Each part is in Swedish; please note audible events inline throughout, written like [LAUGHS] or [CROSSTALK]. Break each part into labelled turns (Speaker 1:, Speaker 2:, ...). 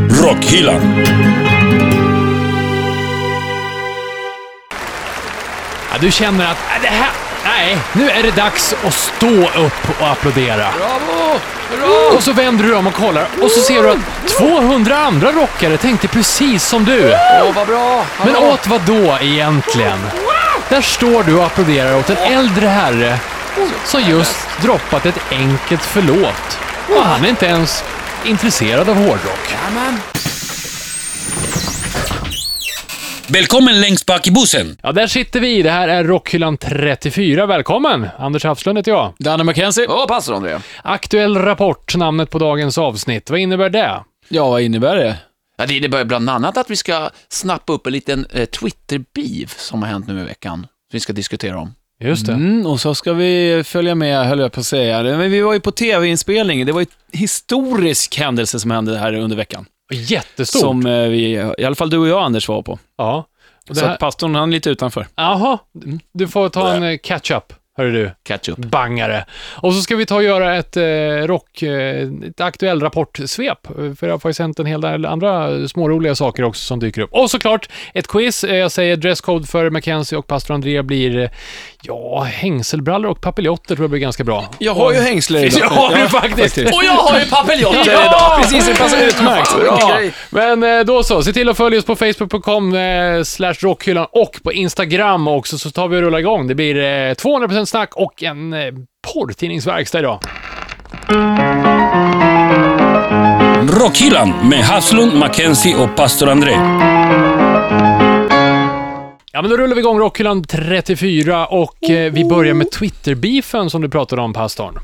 Speaker 1: Rockhyllan.
Speaker 2: Ja, du känner att äh, det här... Nej, nu är det dags att stå upp och applådera.
Speaker 3: Bravo! Hurra!
Speaker 2: Och så vänder du dig om och kollar och så ser du att 200 andra rockare tänkte precis som du.
Speaker 3: Åh, vad bra! Hallå.
Speaker 2: Men åt vad då egentligen? Där står du och applåderar åt en äldre herre som just droppat ett enkelt förlåt. Och han är inte ens intresserad av hårdrock.
Speaker 3: Jajamän.
Speaker 1: Välkommen längst bak i bussen.
Speaker 2: Ja, där sitter vi. Det här är Rockhyllan 34. Välkommen! Anders Hafslund heter jag.
Speaker 4: Danne McKenzie.
Speaker 3: Åh, passar André.
Speaker 2: Aktuell Rapport, namnet på dagens avsnitt. Vad innebär det?
Speaker 4: Ja, vad innebär det?
Speaker 3: Ja, det innebär bland annat att vi ska snappa upp en liten eh, Twitter-beef som har hänt nu i veckan. Som vi ska diskutera om.
Speaker 2: Just det.
Speaker 4: Mm, och så ska vi följa med, höll jag på att säga. Men vi var ju på tv-inspelning. Det var ju en historisk händelse som hände här under veckan.
Speaker 2: Jättestort.
Speaker 4: Som eh, vi, i alla fall du och jag, Anders, var på.
Speaker 2: Ja. Och det
Speaker 4: Så
Speaker 2: här...
Speaker 4: att pastorn, han är lite utanför.
Speaker 2: Jaha, du får ta en eh, catch-up, hörru du.
Speaker 3: Catch up.
Speaker 2: Bangare. Och så ska vi ta och göra ett eh, rock, eh, ett aktuell rapportsvep. eh, För det har faktiskt hänt en hel del andra eh, småroliga saker också som dyker upp. Och såklart ett quiz. Eh, Jag säger dresscode för Mackenzie och pastor Andrea blir, eh, ja, hängselbrallor och papiljotter tror jag blir ganska bra.
Speaker 4: Jag har ju
Speaker 3: [LAUGHS]
Speaker 4: hängslen idag.
Speaker 2: Jag har ju faktiskt.
Speaker 3: Och jag har ju papiljotter
Speaker 2: Ja!
Speaker 4: Precis, det passar utmärkt.
Speaker 3: Bra!
Speaker 2: Men eh, då så, se till att följa oss på facebook.com eh, slash rockhyllan och på Instagram också så tar vi och rullar igång. Det blir eh, 200% snack och en eh, porrtidningsverkstad idag.
Speaker 1: Rockhyllan med Haslund, Mackenzie och pastor André.
Speaker 2: Ja, men då rullar vi igång Rockhyllan 34 och eh, vi börjar med Twitter-beefen som du pratade om, pastorn.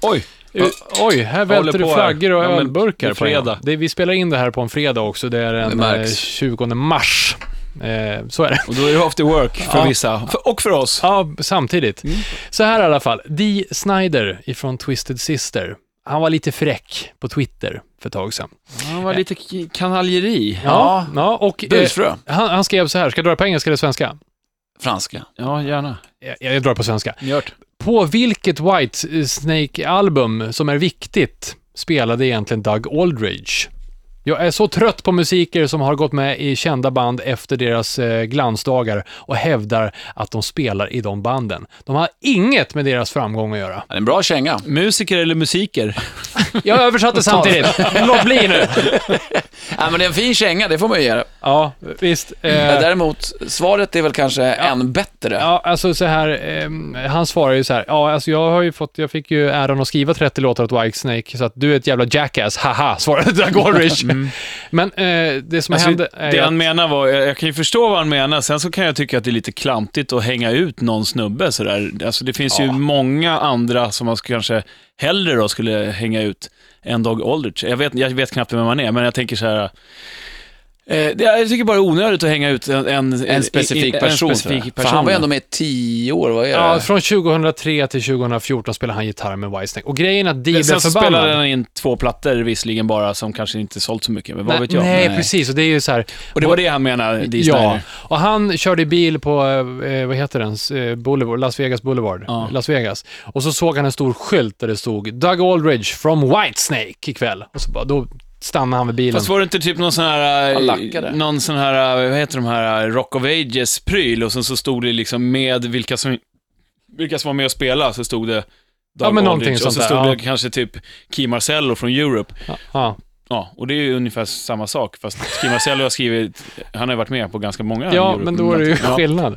Speaker 4: Oj.
Speaker 2: U- Oj, här välter
Speaker 4: håller
Speaker 2: det
Speaker 4: på
Speaker 2: flaggor och
Speaker 4: här. Ja, men
Speaker 2: ölburkar.
Speaker 4: det är
Speaker 2: på en gång.
Speaker 4: fredag.
Speaker 2: Det, vi spelar in det här på en fredag också, det är den
Speaker 3: Det
Speaker 2: eh,
Speaker 3: märks.
Speaker 2: 20 mars. Eh, så är det.
Speaker 4: Och då är det after work för vissa. För- Och för oss.
Speaker 2: Ja, samtidigt. Så här i alla fall. Dee Snyder ifrån Twisted Sister, han var lite fräck på Twitter för ett tag sedan.
Speaker 4: Han var lite k- kanaljeri.
Speaker 2: Ja, ja och eh,
Speaker 3: Busfrö.
Speaker 2: han, han skrev så här, ska jag dra det på engelska eller svenska?
Speaker 3: Franska.
Speaker 4: Ja, gärna.
Speaker 2: Jag, jag drar det på svenska.
Speaker 4: Njört.
Speaker 2: På vilket White Snake-album som är viktigt spelade egentligen Doug Aldridge? Jag är så trött på musiker som har gått med i kända band efter deras eh, glansdagar och hävdar att de spelar i de banden. De har inget med deras framgång att göra.
Speaker 3: Ja, det är en bra känga.
Speaker 4: Musiker eller musiker?
Speaker 2: Jag översatte samtidigt. Låt bli nu.
Speaker 3: Ja, men det är en fin känga, det får man ju ge det.
Speaker 2: Ja, visst. Eh,
Speaker 3: Däremot, svaret är väl kanske än bättre.
Speaker 2: Ja, alltså så här, ehm, han svarar ju så här, ja alltså jag har ju fått, jag fick ju äran att skriva 30 låtar åt Whitesnake, så att du är ett jävla jackass, haha, svarade [LAUGHS] Doug Ulrich. Men eh, det som
Speaker 4: Mm. Alltså,
Speaker 2: hände är
Speaker 4: det
Speaker 2: att,
Speaker 4: han menar var, jag jag kan ju förstå vad han menar, sen så kan jag tycka att det är lite klantigt att hänga ut någon snubbe sådär. Alltså det finns ju många andra som man skulle- kanske hellre då skulle hänga ut än Dog Aldrich. Jag vet, jag vet knappt vem man är, men jag tänker så här. Eh, det, jag tycker bara det är onödigt att hänga ut en, en,
Speaker 3: En specifik
Speaker 4: en
Speaker 3: person.
Speaker 4: specifik
Speaker 3: tror jag.
Speaker 4: person.
Speaker 3: För han var ju ändå med i tio år, vad är det?
Speaker 2: ja, från 2003 till 2014 spelade han gitarr med Whitesnake. Och grejen är att Dee blev
Speaker 4: Men sen så spelade
Speaker 2: förbannad.
Speaker 4: han in två plattor visserligen bara, som kanske inte sålt så mycket, men vad
Speaker 2: Nej,
Speaker 4: vet jag.
Speaker 2: nej, precis. Och det är ju så här,
Speaker 4: Och det var det han menade, Dee
Speaker 2: Ja,
Speaker 4: ja.
Speaker 2: och han körde bil på, eh, vad heter den, Eh, Boulevard, Las Vegas Boulevard,
Speaker 4: Ja.
Speaker 2: Las Vegas. Och så såg han en stor skylt där det stod Doug Aldridge from Whitesnake ikväll. Och så bara, då stannade han vid bilen.
Speaker 4: Fast var det inte typ någon sån här,
Speaker 3: Han lackade.
Speaker 4: eh, någon sån här, eh, vad heter de här, eh, Rock of Ages-pryl och sen så stod det liksom med vilka som, vilka som var med och spelade så stod det Doug
Speaker 2: men
Speaker 4: Aldrich,
Speaker 2: någonting sånt
Speaker 4: och så
Speaker 2: där,
Speaker 4: stod
Speaker 2: ja.
Speaker 4: det kanske typ Key Marcello från Europe.
Speaker 2: ja.
Speaker 4: Ja, och det är ju ungefär samma sak, fast Key Marcello har skrivit, han har ju varit med på ganska många
Speaker 2: ja,
Speaker 4: Europe-
Speaker 2: men då är det ju
Speaker 4: Ja.
Speaker 2: skillnad.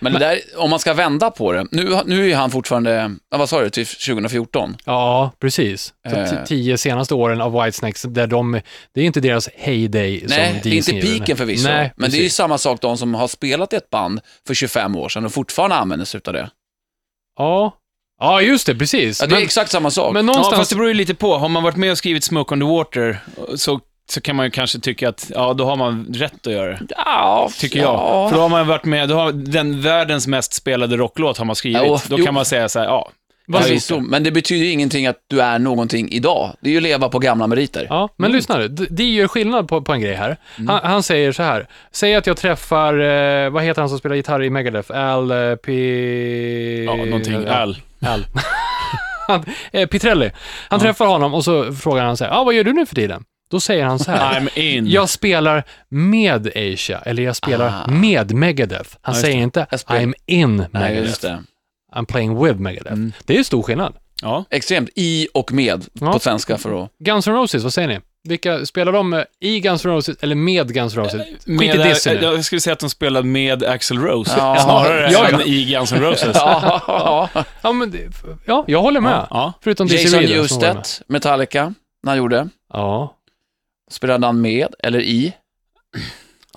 Speaker 3: Men det där, om man ska vända på det, nu, nu är han fortfarande, ja, vad sa du, typ till 2014?
Speaker 2: Ja, precis. Så
Speaker 3: Eh.
Speaker 2: t- tio senaste åren av Whitesnakes, där de, det är inte deras heyday som
Speaker 3: Nej, det
Speaker 2: Dee
Speaker 3: är inte
Speaker 2: skriver.
Speaker 3: piken förvisso.
Speaker 2: Nej,
Speaker 3: men det är ju
Speaker 2: precis.
Speaker 3: samma sak de som har spelat i ett band för 25 år sedan och fortfarande använder sig utav det.
Speaker 2: Ja. ja, just det, precis.
Speaker 3: Ja, det är
Speaker 2: men,
Speaker 3: exakt samma sak.
Speaker 2: men
Speaker 4: Ja,
Speaker 2: någonstans...
Speaker 4: fast det beror ju lite på. Har man varit med och skrivit Smoke on the Water så, så kan man ju kanske tycka att, ja, då har man rätt att göra det.
Speaker 3: ja,
Speaker 4: Tycker jag. För då har man varit med, då har den världens mest spelade rocklåt har man skrivit.
Speaker 3: Ja, och-
Speaker 4: då
Speaker 3: jo.
Speaker 4: kan man säga så här, ja.
Speaker 2: Vad
Speaker 4: jag
Speaker 2: är
Speaker 4: gjort
Speaker 3: Förvisso, men det betyder ju ingenting att du är någonting idag. Det är ju att leva på gamla meriter.
Speaker 2: Ja,
Speaker 4: Mm.
Speaker 2: men lyssna nu. D- Det gör skillnad på, på en grej här. Han, han säger så här. Säg att jag träffar, eh, vad heter han som spelar gitarr i Megadeth? Al eh, P...
Speaker 4: Ja, någonting.
Speaker 2: Ja,
Speaker 4: Al.
Speaker 2: Al. [LAUGHS] han, eh, Pitrelli. Han träffar honom och så frågar han så här, ah, vad gör du nu för tiden? Då säger han så här.
Speaker 4: I'm in.
Speaker 2: Jag spelar med Asia, eller jag spelar
Speaker 3: Ah.
Speaker 2: med Megadeth. Han
Speaker 4: just
Speaker 2: säger inte
Speaker 3: Jag spelar-
Speaker 2: I'm in
Speaker 4: Nej,
Speaker 2: Megadeth,
Speaker 4: just det.
Speaker 2: I'm playing with Megadeth.
Speaker 4: Mm.
Speaker 2: Det är ju stor skillnad.
Speaker 4: Ja.
Speaker 3: Extremt i och med
Speaker 2: Ja.
Speaker 3: på svenska för att...
Speaker 2: Guns N' Roses, vad säger ni? Vilka spelar de eh, i Guns N' Roses eller med Guns N' Roses? Skit i
Speaker 4: Med- eh,
Speaker 2: dissen nu.
Speaker 4: Jag skulle säga att de spelade med Axl Rose,
Speaker 3: Ja.
Speaker 4: [LAUGHS] snarare
Speaker 3: Ja, ja.
Speaker 4: än i Guns N' Roses.
Speaker 3: Ja.
Speaker 2: Ja, men, det- ja, jag håller med.
Speaker 4: Ja.
Speaker 2: Förutom Dizzy
Speaker 3: Jason
Speaker 2: Reed då, som håller med.
Speaker 3: Newsted, Metallica, när han gjorde.
Speaker 2: Ja.
Speaker 3: Spelade han med eller i?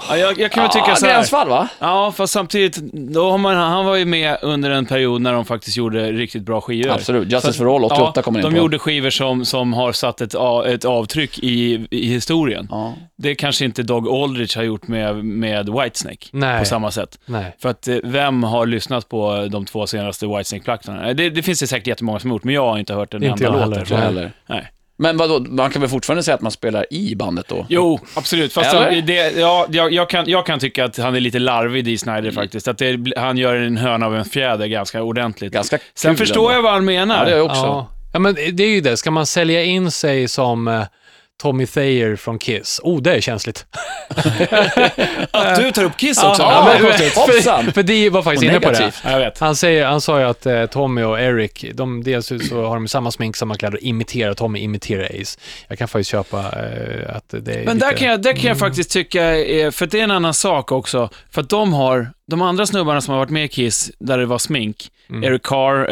Speaker 4: Ja, jag, jag kan väl tycka
Speaker 3: Ja,
Speaker 4: så här.
Speaker 3: gränsfall va?
Speaker 4: Ja, fast samtidigt, då har man, han var ju med under en period när de faktiskt gjorde riktigt bra skivor.
Speaker 3: Absolut. Justice for All 88 kommer in
Speaker 4: de
Speaker 3: på.
Speaker 4: gjorde skivor som, som har satt ett, a- ett avtryck i, i historien.
Speaker 3: Ja.
Speaker 4: Det kanske inte Dog Aldrich har gjort med, med Whitesnake
Speaker 2: Nej.
Speaker 4: på samma sätt.
Speaker 2: Nej.
Speaker 4: För att eh, vem har lyssnat på eh, de två senaste Whitesnake-plattorna? Eh, Det, det finns det säkert jättemånga som har gjort, men jag har inte hört en
Speaker 2: Inte
Speaker 4: enda
Speaker 2: jag
Speaker 4: låt
Speaker 2: heller.
Speaker 4: därifrån.
Speaker 2: Nej.
Speaker 3: Eller.
Speaker 4: Nej.
Speaker 3: Men vadå, man kan väl fortfarande säga att man spelar i bandet då?
Speaker 4: Jo, absolut. Fast
Speaker 3: Eller?
Speaker 4: han- det, ja, jag, jag, kan, jag kan tycka att han är lite larvig, Dee
Speaker 3: Mm.
Speaker 4: Snider, faktiskt. Att det, bli- han gör en höna av en fjäder ganska ordentligt.
Speaker 3: Ganska kul
Speaker 4: Sen förstår
Speaker 3: ändå.
Speaker 4: jag vad han menar.
Speaker 3: Ja, det gör jag också.
Speaker 2: Ja. ja, men det är ju det. Ska man sälja in sig som eh, Tommy Thayer från Kiss? Oh, det är känsligt.
Speaker 4: Att du tar upp Kiss också.
Speaker 3: Ja,
Speaker 4: Ja,
Speaker 3: men- konstigt.
Speaker 2: för, [LAUGHS]
Speaker 3: Hoppsan.
Speaker 2: för det var faktiskt
Speaker 3: Och
Speaker 2: inne på det.
Speaker 3: negativt.
Speaker 4: men- jag vet.
Speaker 2: Han, säger, han sa ju att eh, Tommy och Eric, de, dels så har de samma smink, samma kläder och imiterar Tommy, imiterar Ace. Jag kan faktiskt köpa eh, att det är
Speaker 4: Men
Speaker 2: lite...
Speaker 4: där kan jag, där
Speaker 3: Mm.
Speaker 4: kan jag faktiskt tycka, är, för det är en annan sak också, för att de har, de andra snubbarna som har varit med i Kiss, där det var smink,
Speaker 3: Mm.
Speaker 4: Eric Carr,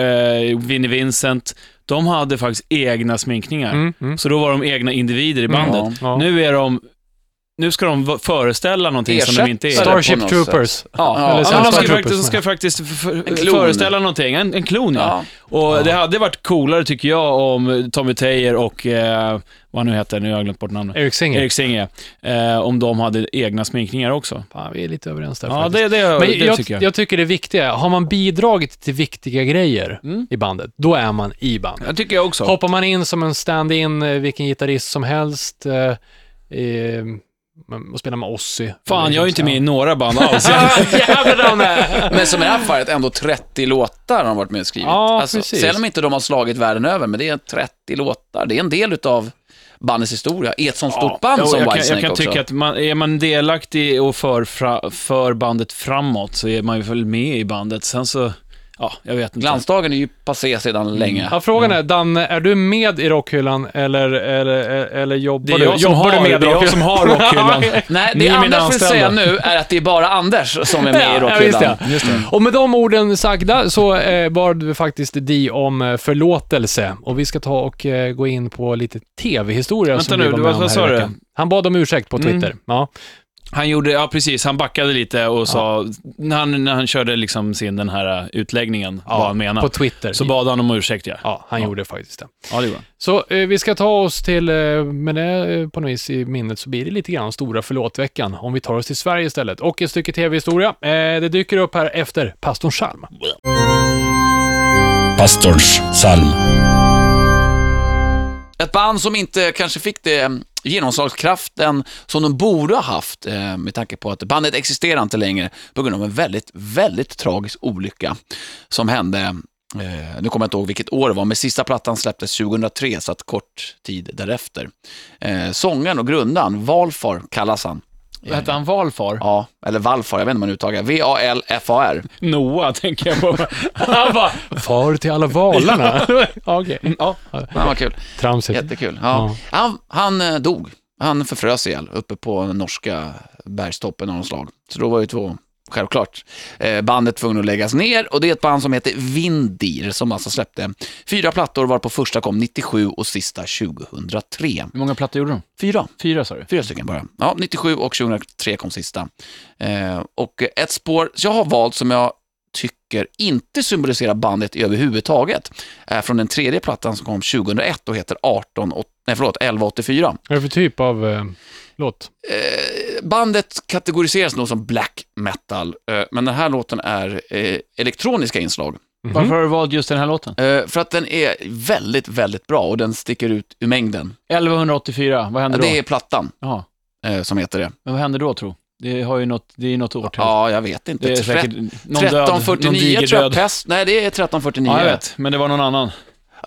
Speaker 4: eh, Vinnie Vincent, de hade faktiskt egna sminkningar.
Speaker 2: Mm, mm.
Speaker 4: Så då var de egna individer i bandet.
Speaker 3: Ja.
Speaker 2: Ja.
Speaker 4: Nu är de, nu ska de v- föreställa någonting som de inte är.
Speaker 3: Ersättare. på
Speaker 2: Starship
Speaker 3: något
Speaker 2: Troopers.
Speaker 3: Ja,
Speaker 2: eller
Speaker 4: Ja,
Speaker 2: så-
Speaker 4: men de ska,
Speaker 2: Starship
Speaker 4: faktiskt, de
Speaker 2: Troopers.
Speaker 4: ska faktiskt f- f-
Speaker 3: En klon.
Speaker 4: föreställa någonting, en, en klon ja.
Speaker 3: Ja.
Speaker 4: Och det hade varit coolare tycker jag om Tommy Thayer och, eh, vad han nu heter, nu har jag glömt bort namnet.
Speaker 2: Eric Singer.
Speaker 4: Erik Singer, eh, om de hade egna sminkningar också.
Speaker 2: Fan, vi är lite överens där
Speaker 4: Ja,
Speaker 2: faktiskt.
Speaker 4: det, det,
Speaker 2: Men
Speaker 4: det
Speaker 2: jag,
Speaker 4: tycker jag.
Speaker 2: jag tycker det viktiga, är, har man bidragit till viktiga grejer
Speaker 4: Mm.
Speaker 2: i bandet, då är man i bandet.
Speaker 4: Det tycker jag också.
Speaker 2: Hoppar man in som en stand-in, eh, vilken gitarrist som helst, eh, eh, och spelar med Ozzy.
Speaker 4: Fan, jag är ju inte med i några band alls. [LAUGHS]
Speaker 3: Men som i det här fallet, ändå 30 låtar har de varit med och skrivit. Alltså,
Speaker 2: Ja, precis.
Speaker 3: Sen om inte de har slagit världen över, men det är 30 låtar. Det är en del utav bandets historia, i ett sånt stort band
Speaker 4: Jo,
Speaker 3: som
Speaker 4: jag kan, jag
Speaker 3: Whitesnake
Speaker 4: kan
Speaker 3: också.
Speaker 4: tycka att man, är man delaktig och för, fra, för bandet framåt så är man ju väl med i bandet. Sen så, ja, jag vet inte.
Speaker 3: Glansdagen är ju passé sedan länge.
Speaker 2: Ja, frågan är, Danne, är du med i rockhyllan eller, eller, eller jobbar
Speaker 4: Det är
Speaker 2: du?
Speaker 4: jag som
Speaker 2: jobbar
Speaker 4: har-
Speaker 2: du med
Speaker 4: det är jag som
Speaker 2: [LAUGHS]
Speaker 4: har rockhyllan.
Speaker 3: Nej,
Speaker 4: Ni
Speaker 3: det
Speaker 4: är mina
Speaker 3: Anders vill säga
Speaker 4: anställda.
Speaker 3: nu är att det är bara Anders som är med i
Speaker 2: Ja, just
Speaker 3: rockhyllan.
Speaker 2: det. Och med de orden sagda så eh, bad vi faktiskt Di om eh, förlåtelse och vi ska ta och eh, gå in på lite tv-historia
Speaker 4: Vänta
Speaker 2: som
Speaker 4: nu,
Speaker 2: vi var
Speaker 4: du-
Speaker 2: med
Speaker 4: vad-
Speaker 2: om
Speaker 4: vad
Speaker 2: här
Speaker 4: sa
Speaker 2: i
Speaker 4: du? Mm.
Speaker 2: veckan. Han bad om ursäkt på Twitter. Ja.
Speaker 4: Han gjorde, ja precis, han backade lite och sa, när, han, när han körde liksom sin den här äh, utläggningen, vad han menar.
Speaker 2: På Twitter.
Speaker 4: Så bad han om ursäkt ja.
Speaker 2: ja, han gjorde faktiskt det.
Speaker 4: Ja, det gjorde han.
Speaker 2: Så eh, vi ska ta oss till, eh, med det eh, på något vis i minnet så blir det lite grann stora förlåtveckan om vi tar oss till Sverige istället. Och ett stycke tv-historia. Eh, det dyker upp här efter Pastorn Salm.
Speaker 1: Pastors psalm.
Speaker 3: Ett band som inte kanske fick det eh, genomslagskraften som de borde ha haft eh, med tanke på att bandet existerar inte längre på grund av en väldigt, väldigt tragisk olycka som hände, eh, nu kommer jag inte ihåg vilket år det var, men sista plattan släpptes 2003, så att kort tid därefter. Eh, Sångaren och grundaren, Valfar kallas han.
Speaker 4: Hette han Valfar?
Speaker 3: Ja, eller Valfar, jag vet inte hur man uttalar det. V-A-L-F-A-R.
Speaker 4: Noah tänker jag på.
Speaker 2: Han bara, far till alla valarna. [LAUGHS] ja, okej.
Speaker 4: Mm,
Speaker 2: Ja,
Speaker 3: Ja, vad kul.
Speaker 2: tramsigt.
Speaker 3: Jättekul. Ja. Han, han eh, dog. Han förfrös ihjäl uppe på den norska bergstoppen av något slag. Så då var ju två, självklart, eh, bandet tvungna att läggas ner. Och det är ett band som heter Vindir som alltså släppte fyra plattor varpå första kom 97 och sista 2003.
Speaker 4: Hur många plattor gjorde de?
Speaker 3: Fyra.
Speaker 4: Fyra sa du?
Speaker 3: Fyra stycken bara. Ja, 97 och 2003 kom sista. Eh, och ett spår jag har valt som jag tycker inte symboliserar bandet överhuvudtaget är från den tredje plattan som kom 2001 och heter 18, åt- nej, förlåt, 1184.
Speaker 2: Vad är det för typ av eh, låt?
Speaker 3: Eh, bandet kategoriseras nog som black metal, eh, men den här låten är eh, elektroniska inslag.
Speaker 2: Mhm.
Speaker 4: Mm. Varför har du valt just den här låten?
Speaker 3: Eh, för att den är väldigt, väldigt bra och den sticker ut ur mängden.
Speaker 4: 1184, vad hände då?
Speaker 3: Det är plattan
Speaker 4: Jaha.
Speaker 3: eh, som heter det.
Speaker 4: Men vad hände då tro? Det har ju något, det är ju något årtal.
Speaker 3: Ja, jag vet inte.
Speaker 4: det är säkert någon död, någon
Speaker 3: 1349
Speaker 4: diger
Speaker 3: tror jag
Speaker 4: död.
Speaker 3: pest. Nej, det är 1349.
Speaker 4: Ja, jag vet, men det var någon annan.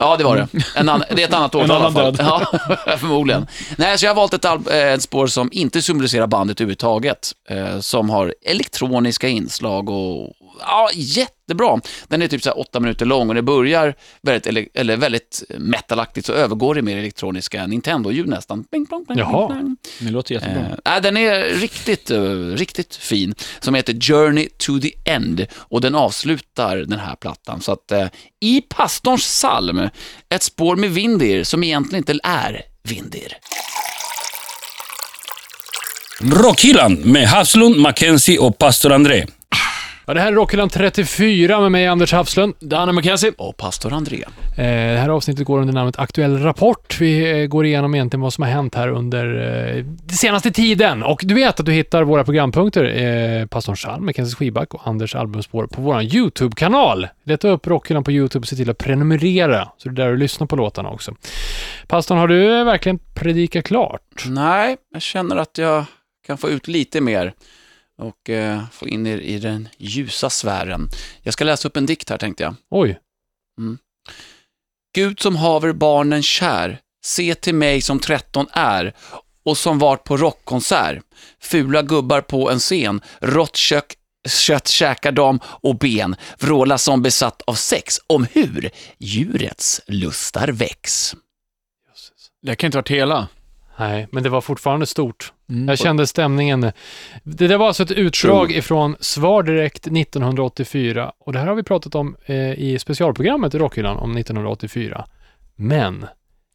Speaker 3: Ja, det var det. En annan, det är ett annat årtal
Speaker 4: Mm. [LAUGHS] En
Speaker 3: i alla
Speaker 4: annan
Speaker 3: fall. Ja, [LAUGHS] förmodligen. Nej, så jag har valt ett, al- eh, ett spår som inte symboliserar bandet överhuvudtaget, eh, som har elektroniska inslag och ja, jättebra. Den är typ så här åtta minuter lång och det börjar väldigt, ele- eller väldigt metalaktigt, så övergår det mer elektroniska Nintendo-ljud nästan. Bing, bong, bing,
Speaker 2: Jaha.
Speaker 3: bing, bong.
Speaker 4: Det låter jättebra.
Speaker 3: Eh, äh, den är riktigt, eh, riktigt fin, som heter Journey to the End och den avslutar den här plattan. Så att eh, i pastorns psalm, ett spår med Vindir som egentligen inte är Vindir.
Speaker 1: Rockhyllan med Haslund, Mackenzie och pastor André.
Speaker 2: Ja, det här är Rockhyllan 34 med mig Anders Hafslund.
Speaker 4: Danne McKenzie.
Speaker 3: Och pastor André.
Speaker 2: Eh, Det här avsnittet går under namnet Aktuell Rapport. Vi eh, går igenom egentligen vad som har hänt här under eh, den senaste tiden. Och du vet att du hittar våra programpunkter, eh, Pastorn Chalm, Mackenzie Skiback och Anders albumspår på vår YouTube-kanal. Leta upp Rockhyllan på YouTube och se till att prenumerera, så det är där du lyssnar på låtarna också. Pastorn, har du eh, verkligen predikat klart?
Speaker 3: Nej, jag känner att jag kan få ut lite mer och eh, få in er i den ljusa sfären. Jag ska läsa upp en dikt här tänkte jag.
Speaker 2: Oj,
Speaker 3: Gud som haver barnen kär, se till mig som tretton är och som vart på rockkonsert. Fula gubbar på en scen, rått kök, kött käkar dam och ben, vråla som besatt av sex, om hur djurets lustar väcks.
Speaker 4: Det kan inte varit hela.
Speaker 2: nej, men det var fortfarande stort.
Speaker 4: Mm.
Speaker 2: Jag kände stämningen. Det där var alltså ett utdrag ifrån Svar direkt 1984 och det här har vi pratat om eh, i specialprogrammet i Rockhyllan om 1984. Men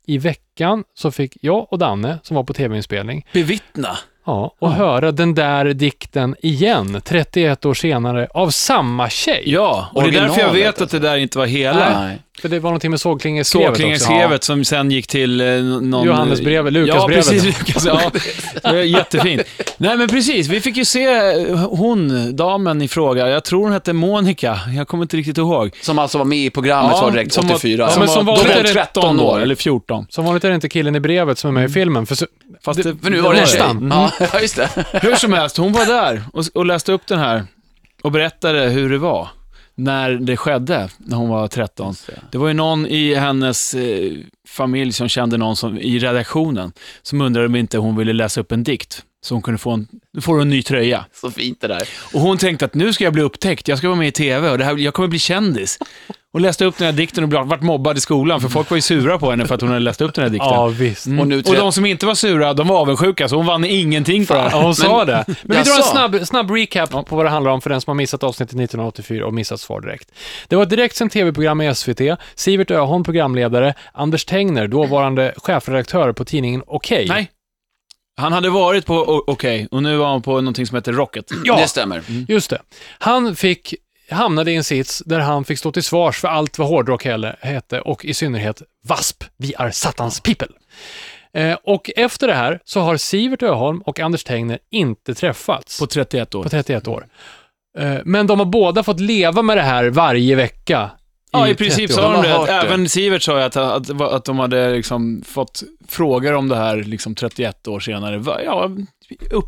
Speaker 2: i veckan så fick jag och Danne, som var på tv-inspelning,
Speaker 4: Bevittna.
Speaker 2: ja, och höra den där dikten igen 31 år senare av samma tjej.
Speaker 4: Ja, och det är därför jag
Speaker 3: Originalet,
Speaker 4: vet att det där inte var hela.
Speaker 3: Nej.
Speaker 2: För det var någonting med sågklingeskrevet också.
Speaker 4: Sågklingeskrevet som sen gick till eh, någon...
Speaker 2: Johannesbrevet, Lukasbrevet.
Speaker 4: Ja, precis. Lukas, [LAUGHS] ja. Det är Jättefint. Nej, men precis. Vi fick ju se eh, hon, damen i fråga. Jag tror hon hette Monica. Jag kommer inte riktigt ihåg.
Speaker 3: Som alltså var med i programmet var direkt
Speaker 4: som var-
Speaker 3: 84.
Speaker 4: Ja, men som
Speaker 3: var,
Speaker 4: var,
Speaker 3: då
Speaker 4: var
Speaker 3: var 13 år.
Speaker 4: Eller 14.
Speaker 2: Som vanligt är det inte killen i brevet som är med i filmen. För så,
Speaker 4: Fast det,
Speaker 3: För nu var det en tjej.
Speaker 2: Nästan. Mm.
Speaker 3: Ja, Ja, [LAUGHS] just det.
Speaker 4: [LAUGHS] Hur som helst, hon var där och, och läste upp den här och berättade hur det var när det skedde, när hon var 13. Det var ju någon i hennes eh, familj som kände någon som, i redaktionen som undrade om inte hon ville läsa upp en dikt så hon kunde få en, nu får hon en ny tröja.
Speaker 3: Så fint det där.
Speaker 4: Och hon tänkte att nu ska jag bli upptäckt, jag ska vara med i TV och det här, jag kommer bli kändis. Och läste upp den här dikten och blev- vart mobbad i skolan för folk var ju sura på henne för att hon hade läst upp den här dikten.
Speaker 2: ja, visst.
Speaker 4: Mm.
Speaker 3: Och
Speaker 4: Och,
Speaker 3: nu tre-
Speaker 4: de som inte var sura, de var avundsjuka så hon vann ingenting för det här.
Speaker 2: Ja, hon sa det. Men vi drar en
Speaker 3: Jaså?
Speaker 2: snabb, snabb recap på vad det handlar om för den som har missat avsnittet 1984 och missat Svar direkt. Det var ett direktsänt tv-program i SVT, Sivert Öholm programledare, Anders Tengner, dåvarande chefredaktör på tidningen Okej.
Speaker 4: Nej. Han hade varit på O- Okej och nu var han på någonting som heter [CLEARS THROAT] Rocket.
Speaker 3: Det stämmer. Mm.
Speaker 2: Just det. Han fick hamnade i en sits där han fick stå till svars för allt vad hårdrock helle- hette och i synnerhet VASP, Vi är Satans people. Eh, och efter det här så har Sivert Öholm och Anders Tengner inte träffats.
Speaker 4: På 31 år.
Speaker 2: på 31 år. Eh, Men de har båda fått leva med det här varje vecka.
Speaker 4: ja, i princip
Speaker 2: 30
Speaker 4: sa
Speaker 2: år.
Speaker 4: de
Speaker 3: De har
Speaker 4: det.
Speaker 3: hört det.
Speaker 4: Även Sivert sa ju att, att, att de hade liksom fått frågor om det här liksom 31 år senare. Va- Ja, upp,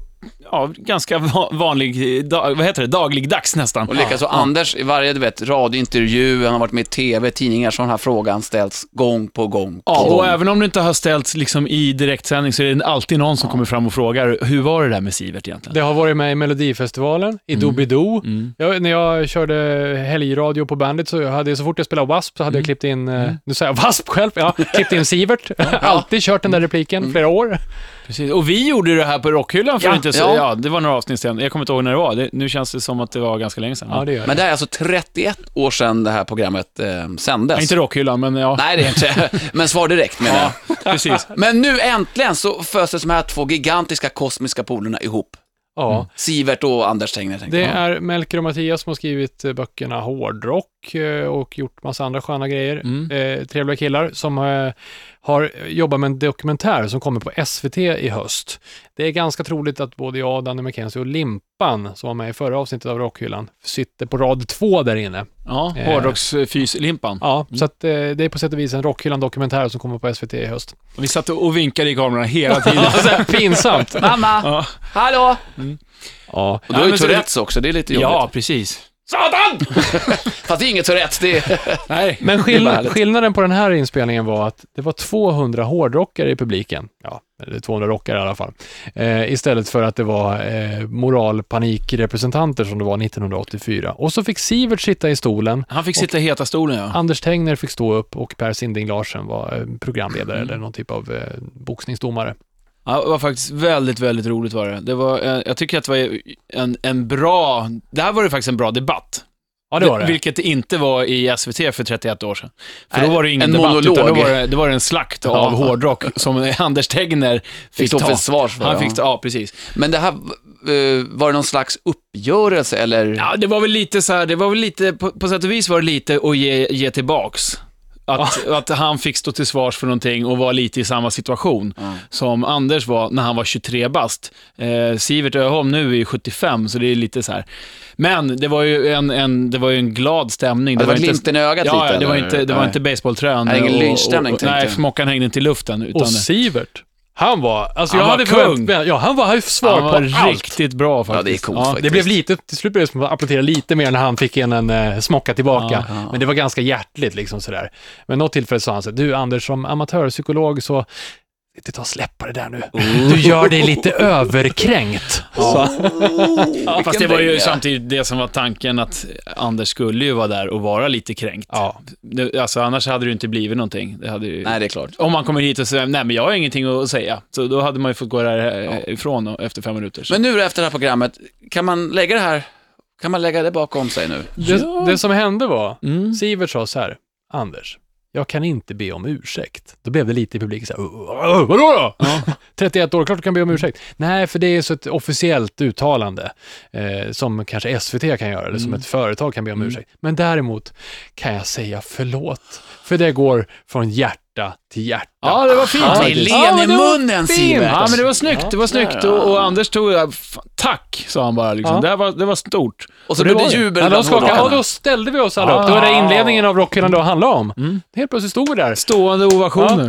Speaker 4: ja ganska va- vanlig, eh, dag, vad heter det, dagligdags nästan.
Speaker 3: Och likaså Anders i varje du vet, radiointervju, han har varit med i tv, tidningar, så har den här frågan ställts gång på gång.
Speaker 4: Ja,
Speaker 3: på
Speaker 4: och
Speaker 3: gång.
Speaker 4: även om det inte har ställts liksom i direktsändning så är det alltid någon som kommer fram och frågar, hur var det där med Sivert egentligen?
Speaker 2: Det har varit med i Melodifestivalen,
Speaker 4: Mm.
Speaker 2: i Doobidoo. Jag, när jag körde helgradio på bandet så hade jag, så fort jag spelade W.A.S.P. så hade
Speaker 4: Mm.
Speaker 2: jag klippt in, eh, nu säger jag W.A.S.P. själv, ja, klippt
Speaker 4: [LAUGHS]
Speaker 2: in Sivert. Alltid kört den där repliken,
Speaker 4: Mm.
Speaker 2: flera år.
Speaker 4: Precis. Och vi gjorde det här på Rockhyllan för
Speaker 2: Ja,
Speaker 4: inte så,
Speaker 3: ja.
Speaker 4: ja. det var några avsnitt sedan. Jag kommer inte ihåg när det var. Det, nu känns det som att det var ganska länge sedan.
Speaker 2: Ja, det gör
Speaker 3: Men
Speaker 2: det.
Speaker 3: det är alltså 31 år sedan det här programmet eh, sändes.
Speaker 4: Ja, Inte Rockhyllan, men
Speaker 3: [LAUGHS]
Speaker 4: ja.
Speaker 3: Nej, det är inte.
Speaker 4: [LAUGHS]
Speaker 3: Men svar direkt menar jag.
Speaker 4: Precis.
Speaker 3: Men nu äntligen så föds det de här två gigantiska kosmiska polerna ihop.
Speaker 2: Ja.
Speaker 3: Sivert och Anders Tegnér, tänkte
Speaker 2: Det
Speaker 3: jag.
Speaker 2: är Melker och Mattias som har skrivit eh, böckerna Hårdrock eh, och gjort massa andra sköna grejer. Eh, trevliga killar som eh, har jobbat med en dokumentär som kommer på SVT i höst. Det är ganska troligt att både jag, Danny McKenzie och Limpan, som var med i förra avsnittet av Rockhyllan, sitter på rad två där inne.
Speaker 4: Ja,
Speaker 2: Eh.
Speaker 4: hårdrocksfyslimpan.
Speaker 2: Ja, så att, eh, det är på sätt och vis en Rockhyllan-dokumentär som kommer på SVT i [LAUGHS] höst.
Speaker 4: Vi satt och vinkade i kamerorna hela tiden.
Speaker 2: Så här, pinsamt!
Speaker 3: Mamma, hallå!
Speaker 2: [LAUGHS] Ja. Mm.
Speaker 3: Och du har
Speaker 4: Ja,
Speaker 3: ju
Speaker 4: men så-
Speaker 3: Tourettes också, det är lite jobbigt.
Speaker 4: ja, precis.
Speaker 3: Satan! [LAUGHS] Fast det är inget så rätt. Det är...
Speaker 4: Nej.
Speaker 2: Men
Speaker 3: Det är
Speaker 2: skill-
Speaker 3: härligt.
Speaker 2: skillnaden på den här inspelningen var att det var 200 hårdrockare i publiken. Ja, eller 200 rockare i alla fall. Eh, istället för att det var eh, moralpanikrepresentanter som det var 1984. Och så fick Sivert sitta i stolen.
Speaker 4: Han fick sitta i heta stolen, ja.
Speaker 2: Anders Tegner fick stå upp och Per Sinding Larsen var eh, programledare eller någon typ av eh, boxningsdomare.
Speaker 4: ja. Det var faktiskt väldigt, väldigt roligt var det. det var, eh, jag tycker att det var en, en bra... Det här var ju faktiskt en bra debatt.
Speaker 2: Ja, det var det.
Speaker 4: Vilket det inte var i SVT för 31 år sedan. För
Speaker 3: Nej,
Speaker 4: då var det ju ingen
Speaker 3: en
Speaker 4: debatt,
Speaker 3: monolog.
Speaker 4: utan då var det, då var det en slakt av
Speaker 3: Ja.
Speaker 4: hårdrock som [LAUGHS] Anders Tegner fick
Speaker 3: stå
Speaker 4: ta.
Speaker 3: för svars för,
Speaker 4: Han
Speaker 3: ja.
Speaker 4: fick ta, ja, precis.
Speaker 3: Men det här, eh, var det någon slags uppgörelse eller?
Speaker 4: Ja, det var väl lite så här, det var väl lite, på, på sätt och vis var det lite att ge, ge tillbaks. Att, [LAUGHS] att han fick stå till svars för någonting och var lite i samma situation som Anders var när han var 23 bast. Eh, Sivert Öholm nu är 75, så det är lite så här. Men det var ju en, en, det var ju en glad stämning.
Speaker 3: det var
Speaker 4: inte-
Speaker 3: glimten i ögat
Speaker 4: ja,
Speaker 3: lite,
Speaker 4: Ja, det var
Speaker 3: eller?
Speaker 4: inte, det var
Speaker 3: Nej.
Speaker 4: inte basebollträn.
Speaker 3: Nej, ingen
Speaker 4: och- och-
Speaker 3: lynchstämning, tänkte
Speaker 4: Nej,
Speaker 3: jag.
Speaker 4: smockan hängde inte i luften. Utan
Speaker 2: Och Sivert, han var, alltså
Speaker 4: Han
Speaker 2: jag
Speaker 4: var
Speaker 2: hade
Speaker 4: kung.
Speaker 2: förvänt mig, ja han var, han hade svar
Speaker 4: han var
Speaker 2: på allt.
Speaker 4: riktigt bra
Speaker 3: Ja,
Speaker 4: faktiskt.
Speaker 3: det är coolt faktiskt.
Speaker 2: Det blev lite, till slut blev det som att applådera lite mer när han fick in en eh, smocka tillbaka. Men det var ganska hjärtligt liksom sådär. Men något tillfälle sa han så här, du Anders som amatörpsykolog så, du tar och släppa det där nu. Du gör dig lite överkränkt. Ja.
Speaker 3: Vilken
Speaker 4: Fast det var ju
Speaker 3: dänga.
Speaker 4: samtidigt det som var tanken att Anders skulle ju vara där och vara lite kränkt.
Speaker 2: ja.
Speaker 4: Det- Alltså annars hade det ju inte blivit någonting. Det hade ju...
Speaker 3: Nej, det är klart.
Speaker 4: Om man kommer hit och säger, nej men jag har ingenting att säga. Så då hade man ju fått gå därifrån och- efter fem minuter. Så.
Speaker 3: Men nu efter det här programmet, kan man lägga det här, kan man lägga det bakom sig nu?
Speaker 2: Det, det som hände var,
Speaker 4: Mm.
Speaker 2: Sivert sa så här, Anders, jag kan inte be om ursäkt. Då blev det lite i publiken så här, "Åh, vadå då? [LAUGHS] 31 år, klart du kan be om ursäkt. Nej, för det är så ett officiellt uttalande eh, som kanske SVT kan göra, eller
Speaker 4: Mm.
Speaker 2: som ett företag kan be om ursäkt. Men däremot kan jag säga förlåt, för det går från hjärta till hjärta. Ah,
Speaker 4: Ja, det var fint.
Speaker 2: Ja,
Speaker 4: faktiskt.
Speaker 3: Med len
Speaker 4: ja,
Speaker 3: i
Speaker 4: men det var
Speaker 3: munnen,
Speaker 4: fint.
Speaker 3: Sivert.
Speaker 4: Ja, men det var snyggt. det var snyggt.
Speaker 3: där, ja.
Speaker 4: Och, och Anders tog, ja, fan, tack, sa han bara. Liksom.
Speaker 2: Ja.
Speaker 4: Det, här var, det var stort.
Speaker 3: Och
Speaker 4: det
Speaker 3: så blev det
Speaker 4: var ju-
Speaker 3: jubel
Speaker 2: Ja, de
Speaker 3: bland
Speaker 2: skakade, ja,
Speaker 3: hårdrockarna.
Speaker 2: då ställde vi oss alla
Speaker 4: Ah.
Speaker 2: upp. Alltså, Det var det inledningen av Rockhyllan då handlade om.
Speaker 4: Mm.
Speaker 2: Helt plötsligt stod vi där.
Speaker 4: Stående ovationer. Ja.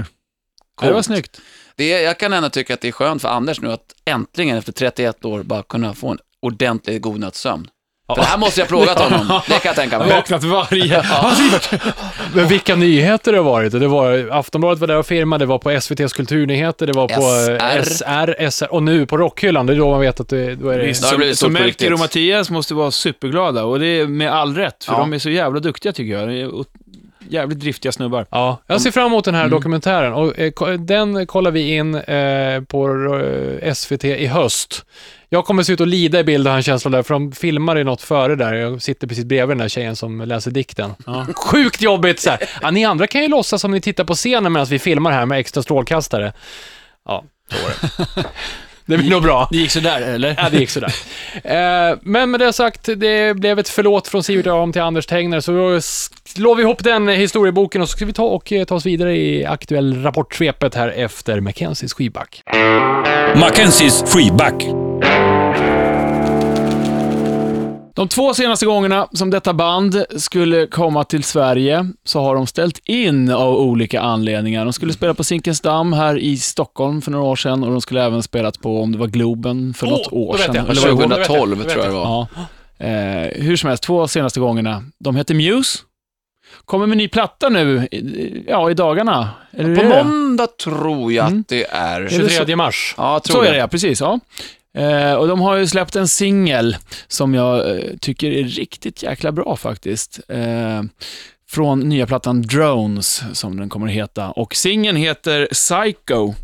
Speaker 4: Det var
Speaker 3: Coolt.
Speaker 4: snyggt.
Speaker 3: Det är, jag kan ändå tycka att det är skönt för Anders nu att äntligen efter 31 år bara kunna få en ordentlig god natts sömn. För det här måste jag
Speaker 4: [LAUGHS]
Speaker 3: ha plågat honom, det kan jag tänka mig.
Speaker 4: Vaknat [LAUGHS] varje... Ja, Sivert.
Speaker 2: Men vilka nyheter det har varit. Det var, Aftonbladet var där och firmade, det var på SVTs kulturnyheter, det var på eh, SR, SR och nu på Rockhyllan. Det är då man vet att det, då är det...
Speaker 4: Visst,
Speaker 3: Det har
Speaker 4: så,
Speaker 3: blivit
Speaker 4: så
Speaker 3: stort på
Speaker 4: Melker
Speaker 3: riktigt.
Speaker 4: och Mattias måste vara superglada och det är med all rätt, för
Speaker 3: Ja.
Speaker 4: de är så jävla duktiga tycker jag. Det är o- Jävligt driftiga snubbar.
Speaker 2: Ja, jag ser fram emot den här dokumentären och eh, ko- den kollar vi in eh, på eh, SVT i höst. Jag kommer se ut och lida i bild och ha en känsla där, för de filmar ju något före där. Jag sitter precis bredvid den här tjejen som läser dikten. [LAUGHS] Sjukt jobbigt så här. Ja, ni andra kan ju låtsas som ni tittar på scenen medan vi filmar här med extra strålkastare. Ja, så var det. Det blir nog bra.
Speaker 4: Det gick sådär, eller?
Speaker 2: Ja, det gick
Speaker 4: [LAUGHS]
Speaker 2: sådär. Eh, Men med det sagt, det blev ett förlåt från Sivert Öholm till Anders Tegner, så då slår vi ihop den historieboken och så ska vi ta och eh, ta oss vidare i aktuell rapportsvepet här efter Mackenzies skivback.
Speaker 1: Mackenzies freeback.
Speaker 4: De två senaste gångerna som detta band skulle komma till Sverige så har de ställt in av olika anledningar. De skulle spela på Zinkensdamm här i Stockholm för några år sedan och de skulle även spelat på, om det var Globen, för
Speaker 2: Åh,
Speaker 4: något
Speaker 2: då
Speaker 4: år
Speaker 2: vet
Speaker 4: sedan.
Speaker 2: jag.
Speaker 4: Eller
Speaker 2: Tjugo-
Speaker 4: var det
Speaker 3: 2012
Speaker 2: vet jag,
Speaker 3: tror jag det var.
Speaker 4: Ja. Eh, hur som helst, två senaste gångerna. De hette Muse. Kommer med ny platta nu, i- ja, i dagarna. Eller hur
Speaker 3: På
Speaker 4: är det?
Speaker 3: måndag tror jag att det är.
Speaker 4: Mm. det så?
Speaker 2: 23 mars.
Speaker 3: Ja, jag
Speaker 4: Så
Speaker 3: tror
Speaker 4: är det,
Speaker 3: det.
Speaker 4: ja, precis. Ja. Eh, och de har ju släppt en singel som jag eh, tycker är riktigt jäkla bra faktiskt. Eh, från nya plattan Drones, som den kommer att heta. Och singeln heter Psycho.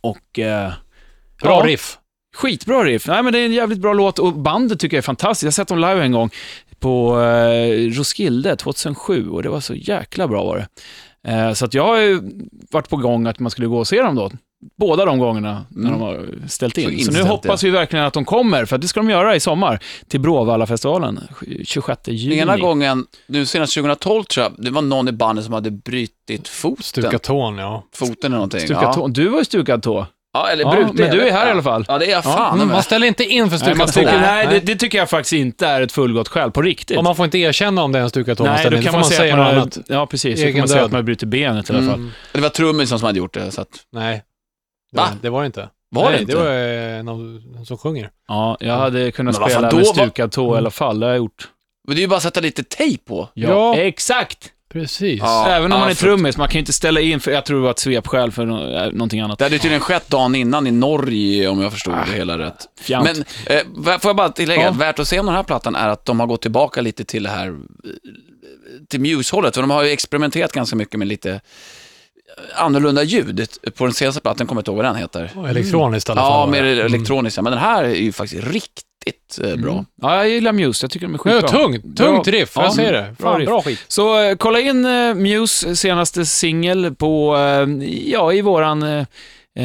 Speaker 4: Och... Eh,
Speaker 2: Bra
Speaker 4: ja,
Speaker 2: riff.
Speaker 4: Skitbra riff. Nej, men det är en jävligt bra låt och bandet tycker jag är fantastiskt. Jag har sett dem live en gång på eh, Roskilde 2007 och det var så jäkla bra var det. Eh, så att jag har ju varit på gång att man skulle gå och se dem då. Båda de gångerna när de har ställt
Speaker 3: Mm. Så
Speaker 4: in. Så, nu
Speaker 3: inställt,
Speaker 4: hoppas vi verkligen att de kommer, för att det ska de göra i sommar till Bråvallafestivalen 26 juni.
Speaker 3: Ena gången, nu senast 2012 tror jag, det var någon i bandet som hade brutit foten.
Speaker 2: Stukat tån, ja.
Speaker 3: Foten eller någonting.
Speaker 4: Stukad
Speaker 3: ja.
Speaker 4: tå. Du var ju stukad tå.
Speaker 3: Ja, eller
Speaker 4: Ja,
Speaker 3: brutit.
Speaker 4: men du är här
Speaker 3: ja.
Speaker 4: i alla fall.
Speaker 3: Ja, det är jag fan
Speaker 2: Mm,
Speaker 3: mm,
Speaker 2: Man ställer inte in för
Speaker 4: Nej, man
Speaker 2: stukat tå.
Speaker 4: tycker, nej,
Speaker 2: Nej.
Speaker 4: det, det tycker jag faktiskt inte är ett fullgott skäl, på riktigt.
Speaker 2: Och man får inte erkänna om det är en stukat tå man
Speaker 4: Nej,
Speaker 2: ställer
Speaker 4: då
Speaker 2: in.
Speaker 4: kan
Speaker 2: får
Speaker 4: man
Speaker 2: man
Speaker 4: säga
Speaker 2: säga
Speaker 4: att man,
Speaker 2: något
Speaker 4: har,
Speaker 2: annat.
Speaker 4: ja, precis, då kan
Speaker 2: Egen
Speaker 4: man säga
Speaker 2: död.
Speaker 4: att man bryter benet i alla fall.
Speaker 3: Mm. Det var trummisen som hade gjort det, så att,
Speaker 2: Nej. Det
Speaker 3: Va?
Speaker 2: var, det var det inte.
Speaker 3: var
Speaker 2: nej,
Speaker 3: det inte?
Speaker 2: det var eh, någon någon som sjunger.
Speaker 4: Ja, jag hade kunnat
Speaker 3: Men vad fan,
Speaker 4: spela
Speaker 3: då
Speaker 4: med
Speaker 3: var-
Speaker 4: stukad tå i alla fall, det har jag gjort.
Speaker 3: Men det är ju bara att sätta lite tejp på.
Speaker 2: Ja.
Speaker 4: Exakt!
Speaker 2: Precis.
Speaker 3: Ja.
Speaker 4: Även om man
Speaker 3: ja,
Speaker 4: är
Speaker 3: för-
Speaker 4: trummis, man kan ju inte ställa in, för jag tror det var ett svepskäl för nå- äh, någonting annat.
Speaker 3: Det hade ju tydligen skett dagen innan i Norge, om jag förstod det hela rätt.
Speaker 4: Fjant.
Speaker 3: Ah. Men eh, va- får jag bara tillägga,
Speaker 4: Ja.
Speaker 3: att värt att se om den här plattan är att de har gått tillbaka lite till det här, eh, till Muse-hållet, för de har ju experimenterat ganska mycket med lite eh, annorlunda ljud på den senaste plattan, kommer jag inte ihåg vad den heter.
Speaker 2: Elektroniskt i alla fall.
Speaker 3: Ja,
Speaker 2: var
Speaker 3: mer
Speaker 2: det. Mm.
Speaker 3: elektroniska, men den här är ju faktiskt riktigt eh, bra.
Speaker 4: Ja, jag gillar Muse, jag tycker de är
Speaker 2: Ja,
Speaker 4: skitbra.
Speaker 2: tungt,
Speaker 4: Bra.
Speaker 2: tungt riff.
Speaker 4: Ja,
Speaker 2: Jag säger det.
Speaker 4: bra
Speaker 2: Fan,
Speaker 4: riff.
Speaker 2: bra skit.
Speaker 4: Så eh, kolla in eh, Muse senaste singel på, eh, ja, i våran eh,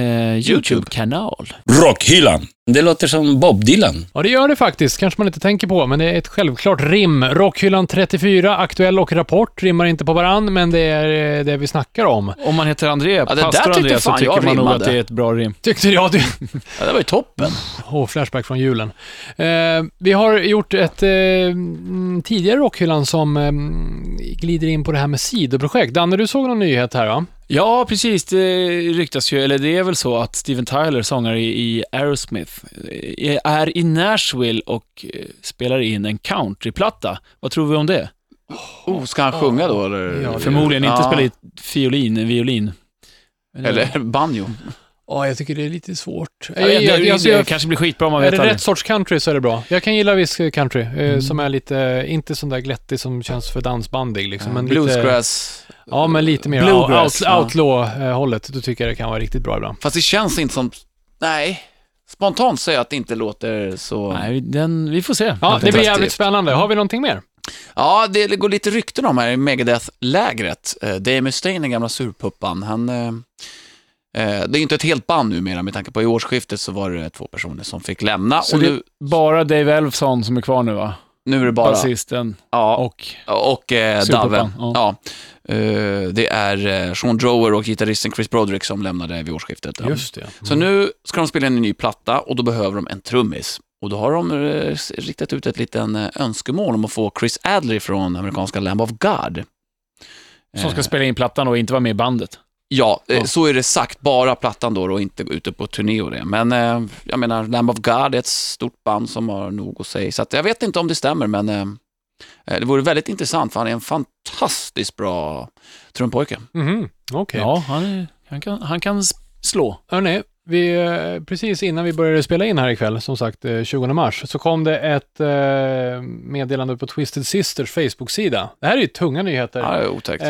Speaker 4: eh, YouTube-kanal.
Speaker 1: Rockhyllan. Det låter som Bob Dylan.
Speaker 2: Ja, det gör det faktiskt. Kanske man inte tänker på, men det är ett självklart rim. Rockhyllan 34, Aktuell och Rapport rimmar inte på varann, men det är eh, det vi snackar om.
Speaker 4: Om man heter André,
Speaker 3: det där
Speaker 4: pastor
Speaker 3: tyckte
Speaker 4: André, så
Speaker 3: fan
Speaker 4: tycker
Speaker 3: jag
Speaker 4: man nog
Speaker 3: rimmade.
Speaker 4: att det är ett bra rim.
Speaker 2: Tyckte jag. Det... [LAUGHS]
Speaker 3: Ja, det var ju toppen.
Speaker 2: Åh, flashback från julen. Eh, vi har gjort ett eh, mm, tidigare Rockhyllan som eh, glider in på det här med sidoprojekt. Danne, du såg någon nyhet här va?
Speaker 4: Ja, precis. Det ryktas ju, eller det är väl så att Steven Tyler, sångare i i Aerosmith, eh, är i Nashville och eh, spelar in en countryplatta. Vad tror vi om det?
Speaker 3: Oh, ska han sjunga då, eller?
Speaker 2: Ja, det-
Speaker 4: Förmodligen inte
Speaker 3: Ja.
Speaker 4: spela i fiolin, violin. Eh,
Speaker 3: Eller banjo.
Speaker 2: Ja, jag tycker det är lite svårt.
Speaker 4: Jag vet, det, det, kanske blir skitbra om man
Speaker 2: är
Speaker 4: vet
Speaker 2: det
Speaker 4: aldrig.
Speaker 2: rätt sorts country så är det bra. Jag kan gilla viss country, eh, som är lite, inte sån där glättig som känns för dansbandig liksom. Men lite,
Speaker 3: Bluesgrass.
Speaker 2: ja, men lite mer
Speaker 4: Bluegrass,
Speaker 2: out,
Speaker 4: ja.
Speaker 2: outlaw-hållet. Då tycker jag det kan vara riktigt bra ibland.
Speaker 3: Fast det känns inte som... Nej. Spontant säger jag att det inte låter så...
Speaker 4: Nej, den, vi får se.
Speaker 2: Ja,
Speaker 4: helt
Speaker 2: det blir
Speaker 4: enkelt.
Speaker 2: jävligt spännande. Har vi någonting mer?
Speaker 3: Ja, det går lite rykten om här i Megadeth-lägret. Eh, Dave Mustaine, den gamla surpuppan, han... eh, eh, Det är ju inte ett helt band numera med tanke på i årsskiftet så var det två personer som fick lämna
Speaker 4: Så
Speaker 3: och
Speaker 4: det
Speaker 3: nu,
Speaker 4: är bara Dave Elfson som är kvar nu va?
Speaker 3: nu är det bara...
Speaker 4: Basisten
Speaker 3: Ja,
Speaker 4: och...
Speaker 3: och, och eh, Dave.
Speaker 4: Surpuppan, ja.
Speaker 3: Ja. Eh, Det är eh, Sean Drower och gitarristen Chris Broderick som lämnade vid årsskiftet. Ja.
Speaker 2: det.
Speaker 3: Så nu ska de spela in en ny platta och då behöver de en trummis. Och då har de eh, s- riktat ut ett liten eh, önskemål om att få Chris Adley från amerikanska Lamb of God.
Speaker 4: Som ska
Speaker 3: Eh,
Speaker 4: spela in plattan och inte vara med i bandet.
Speaker 3: Ja, eh,
Speaker 4: Ja.
Speaker 3: så är det sagt. Bara plattan då och inte ute på turné och det. Men eh, jag menar, Lamb of God är ett stort band som har nog att säga. Så att jag vet inte om det stämmer, men eh, eh, det vore väldigt intressant för han är en fantastiskt bra trumpojke.
Speaker 2: Mhm, okej.
Speaker 4: Ja, han, är, han, kan, han kan s- slå.
Speaker 2: Hörni, vi, eh, precis innan vi började spela in här ikväll, som sagt eh, 20 mars, så kom det ett eh, meddelande på Twisted Sisters Facebook-sida. Det här är ju tunga nyheter.
Speaker 3: Ja, det är otäckt.
Speaker 2: Eh,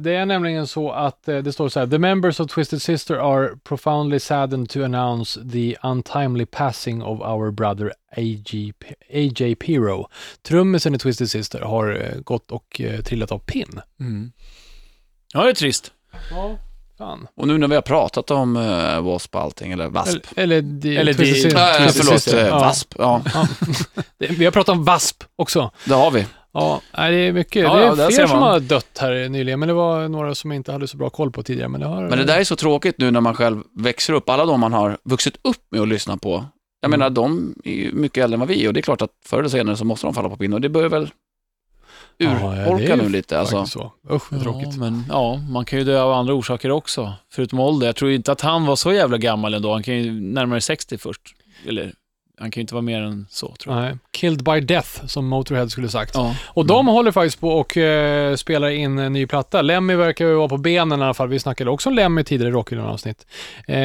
Speaker 2: det är nämligen så att eh, det står så här. The members of Twisted Sister are profoundly saddened to announce the untimely passing of our brother AJ, P- AJ Piro. Trummisen i Twisted Sister har eh, gått och eh, trillat av pinn.
Speaker 4: Ja, det är trist.
Speaker 2: Ja, fan.
Speaker 3: Och nu när vi har pratat om eh, W.A.S.P. och allting, eller W.A.S.P.
Speaker 2: Eller, eller, de,
Speaker 4: Eller
Speaker 2: Twisted
Speaker 4: de-
Speaker 2: Sister.
Speaker 3: Ja, ja,
Speaker 2: Twisted
Speaker 3: förlåt,
Speaker 2: Sister.
Speaker 3: eh,
Speaker 2: Ja.
Speaker 3: W.A.S.P. Ja.
Speaker 2: Ja. Det- Vi har pratat om VASP också.
Speaker 3: Det har vi.
Speaker 2: Ja, nej, det är mycket.
Speaker 4: Ja, ja,
Speaker 2: det
Speaker 4: där
Speaker 2: är
Speaker 4: ser
Speaker 2: fler som
Speaker 4: man.
Speaker 2: har dött här nyligen, men det var några som jag inte hade så bra koll på tidigare. Men det, har,
Speaker 3: Men det där är så tråkigt nu när man själv växer upp. Alla de man har vuxit upp med att lyssna på. Jag menar,
Speaker 2: Mm.
Speaker 3: de är ju mycket äldre än vad vi är och det är klart att förr eller senare så måste de falla på pinnen och det börjar väl
Speaker 2: Ja, ja,
Speaker 3: urholka
Speaker 2: det är ju
Speaker 3: nu lite. Alltså.
Speaker 2: faktiskt så. Usch, vad tråkigt.
Speaker 4: Ja, men, ja, man kan ju dö av andra orsaker också. Förutom ålder. Jag tror inte att han var så jävla gammal ändå. Han kan ju närmare 60 först. Eller, han kan ju inte vara mer än så, tror jag.
Speaker 2: Nej, Killed by Death, som Motorhead skulle sagt.
Speaker 4: Ja. Mm.
Speaker 2: Och de håller faktiskt på och eh, spelar in en ny platta. Lemmy verkar ju vara på benen i alla fall. Vi snackade också om Lemmy tidigare i Rockhyllan-avsnitt. Eh,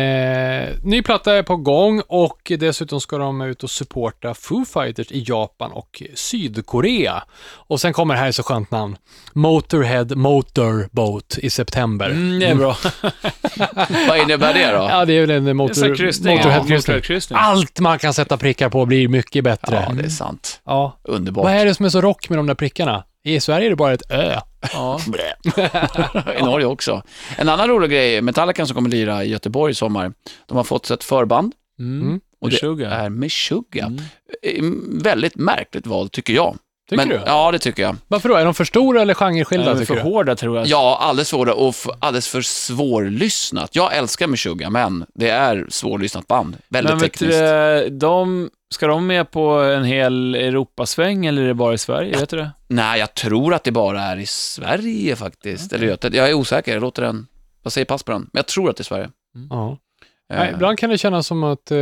Speaker 2: ny platta är på gång och dessutom ska de ut och supporta Foo Fighters i Japan och Sydkorea. Och sen kommer det här är så skönt namn. Motorhead Motorboat i september.
Speaker 4: Mm, det är bra.
Speaker 3: Vad innebär det då?
Speaker 2: [LAUGHS] Ja, det är väl en
Speaker 4: Det är en
Speaker 2: motor,
Speaker 4: kryssning.
Speaker 2: Motorhead-kryssning.
Speaker 4: Motorhead-kryssning.
Speaker 2: Allt man kan sätta prickar på blir mycket bättre.
Speaker 3: Ja, det är sant.
Speaker 2: ja. Vad
Speaker 3: Underbart.
Speaker 2: är det som är så rock med de där prickarna? I Sverige är det bara ett Ö.
Speaker 4: Ja.
Speaker 3: Blä. [LAUGHS] I Norge också. En annan rolig grej, är Metallica som kommer lira i Göteborg i sommar, de har fått ett förband
Speaker 4: Mm.
Speaker 3: och det
Speaker 4: Meshuggah.
Speaker 2: Äh,
Speaker 3: är Meshuggah. Eh, Väldigt märkligt val tycker jag.
Speaker 2: Mm. Tycker
Speaker 3: Men-
Speaker 2: du?
Speaker 3: Ja, det tycker jag.
Speaker 2: Varför då? Är de för stora eller genreskilda
Speaker 4: De är
Speaker 2: tycker
Speaker 4: för
Speaker 2: du?
Speaker 4: hårda, tror jag.
Speaker 3: Ja, alldeles för hårda och f- alldeles för svårlyssnat. Jag älskar Meshuggah, men det är svårlyssnat band. Väldigt
Speaker 4: Men vet
Speaker 3: tekniskt.
Speaker 4: du, eh, de, ska de med på en hel Europasväng eller är det bara i Sverige? Vet du det?
Speaker 3: Nej, jag tror att det bara är i Sverige faktiskt. Eller Göte- jag är osäker, jag låter den... Vad säger Pasperan?
Speaker 4: Äh.
Speaker 3: Men jag tror att det är Sverige.
Speaker 2: Ja.
Speaker 3: Eh,
Speaker 2: Nej, ibland kan det kännas som att... Eh,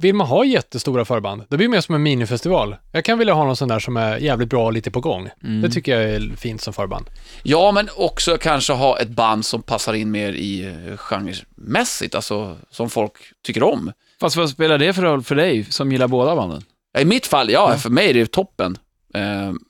Speaker 2: Vill man ha jättestora förband, då blir det mer som en minifestival. Jag kan vilja ha någon sån där som är jävligt bra och lite på gång.
Speaker 4: Mm.
Speaker 2: Det tycker jag är fint som förband.
Speaker 3: Eh, Ja, men också kanske ha ett band som passar in mer i eh, genremässigt, alltså som folk tycker om.
Speaker 4: Fast vad spelar det för roll för dig som gillar båda banden?
Speaker 3: I mitt fall, ja, för mig är det toppen. Eh,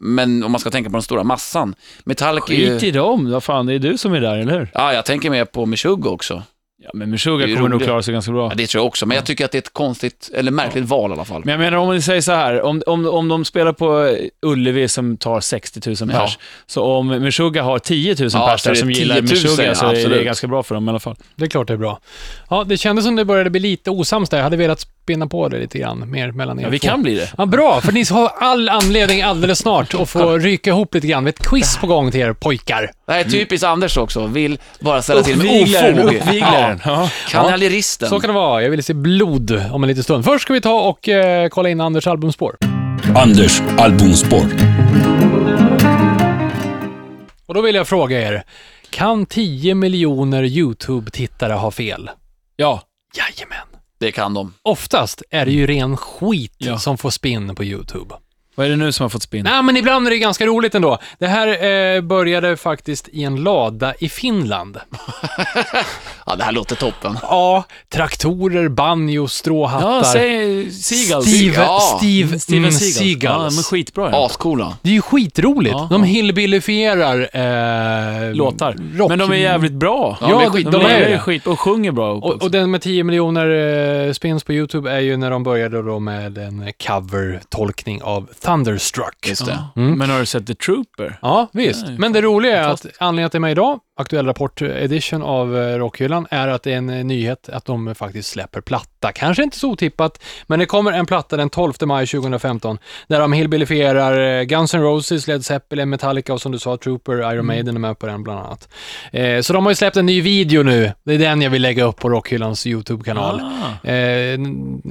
Speaker 3: Men om man ska tänka på den stora massan. Metallica är
Speaker 4: Skit
Speaker 3: ju...
Speaker 4: i dem, vad fan, det är du som är där, eller hur?
Speaker 3: Ja, jag tänker mer på Meshuggah också.
Speaker 4: Ja, men Meshuggah
Speaker 3: Det är
Speaker 4: kommer nog
Speaker 3: roligt.
Speaker 4: klara sig ganska bra.
Speaker 3: Ja, det tror jag också, men jag tycker att det är ett konstigt, eller märkligt val i alla fall.
Speaker 4: Men jag menar om vi säger så här, om, om, om de spelar på eh, Ullevi som tar 60 000 pers,
Speaker 3: Ja.
Speaker 4: så om Meshuggah har 10 000
Speaker 3: Ja,
Speaker 4: pers
Speaker 3: så
Speaker 4: där
Speaker 3: är det
Speaker 4: som gillar
Speaker 3: 10 000,
Speaker 4: Meshuggah så är det
Speaker 3: absolut.
Speaker 4: ganska bra för dem i alla fall.
Speaker 2: Det är klart det är bra. Ja, det kändes som det började bli lite osams där. Jag hade velat spinna på det lite grann mer mellan er
Speaker 4: Ja, vi
Speaker 2: två.
Speaker 4: kan bli det.
Speaker 2: Ja, bra, för ni har all anledning alldeles snart att
Speaker 4: [LAUGHS]
Speaker 2: få ryka ihop lite grann. Vi har ett quiz på gång till er pojkar.
Speaker 3: Det här är typiskt Anders också, vill bara ställa till med
Speaker 4: Uppviglaren,
Speaker 3: ofog.
Speaker 4: uppviglaren. Ja.
Speaker 3: Kanaljeristen.
Speaker 2: Så kan det vara. Jag vill se blod om en liten stund. Först ska vi ta och eh, kolla in Anders albumspår.
Speaker 1: Anders albumspår.
Speaker 2: Och då vill jag fråga er, kan 10 miljoner YouTube-tittare ha fel?
Speaker 4: Ja.
Speaker 2: Jajamän.
Speaker 3: Det kan de.
Speaker 2: Oftast är det ju ren skit
Speaker 4: Ja.
Speaker 2: som får spinn på YouTube.
Speaker 4: Vad är det nu som har fått spinn?
Speaker 2: Nej, men ibland är det ganska roligt ändå. Det här eh, började faktiskt i en lada i Finland.
Speaker 3: Ja, det här låter toppen.
Speaker 2: Ja, traktorer, banjo, stråhattar.
Speaker 4: Ja, säg Seagulls.
Speaker 2: Steve,
Speaker 3: Ja.
Speaker 2: Steve,
Speaker 4: Steven
Speaker 2: mm,
Speaker 4: Seagulls. Ja, men
Speaker 2: Seagulls.
Speaker 4: skitbra. Ja.
Speaker 3: Ascoola.
Speaker 2: Det är ju skitroligt.
Speaker 4: Ja.
Speaker 2: De hillbillifierar eh,
Speaker 4: Låtar.
Speaker 2: rock.
Speaker 4: Men de är jävligt bra.
Speaker 2: Ja, de är skit- de är
Speaker 4: ju
Speaker 2: det.
Speaker 4: skit och sjunger bra.
Speaker 2: Och, och den med 10 miljoner eh, spins på YouTube är ju när de började då med en cover-tolkning av Thunderstruck.
Speaker 3: Just det.
Speaker 4: Mm. Men har du sett The Trooper?
Speaker 2: Ja, visst.
Speaker 4: Nej,
Speaker 2: Men det roliga är att anledningen till mig idag, aktuell rapport edition av eh, Rockhyllan, är att det är en eh, nyhet att de eh, faktiskt släpper platta. Kanske inte så otippat, men det kommer en platta den 12 maj 2015 där de hillbillifierar eh, Guns N' Roses, Led Zeppelin, Metallica och som du sa Trooper,
Speaker 4: Mm.
Speaker 2: Iron Maiden är med på den bland annat. Eh, Så de har ju släppt en ny video nu. Det är den jag vill lägga upp på Rockhyllans YouTube-kanal.
Speaker 4: Ah.
Speaker 2: Eh,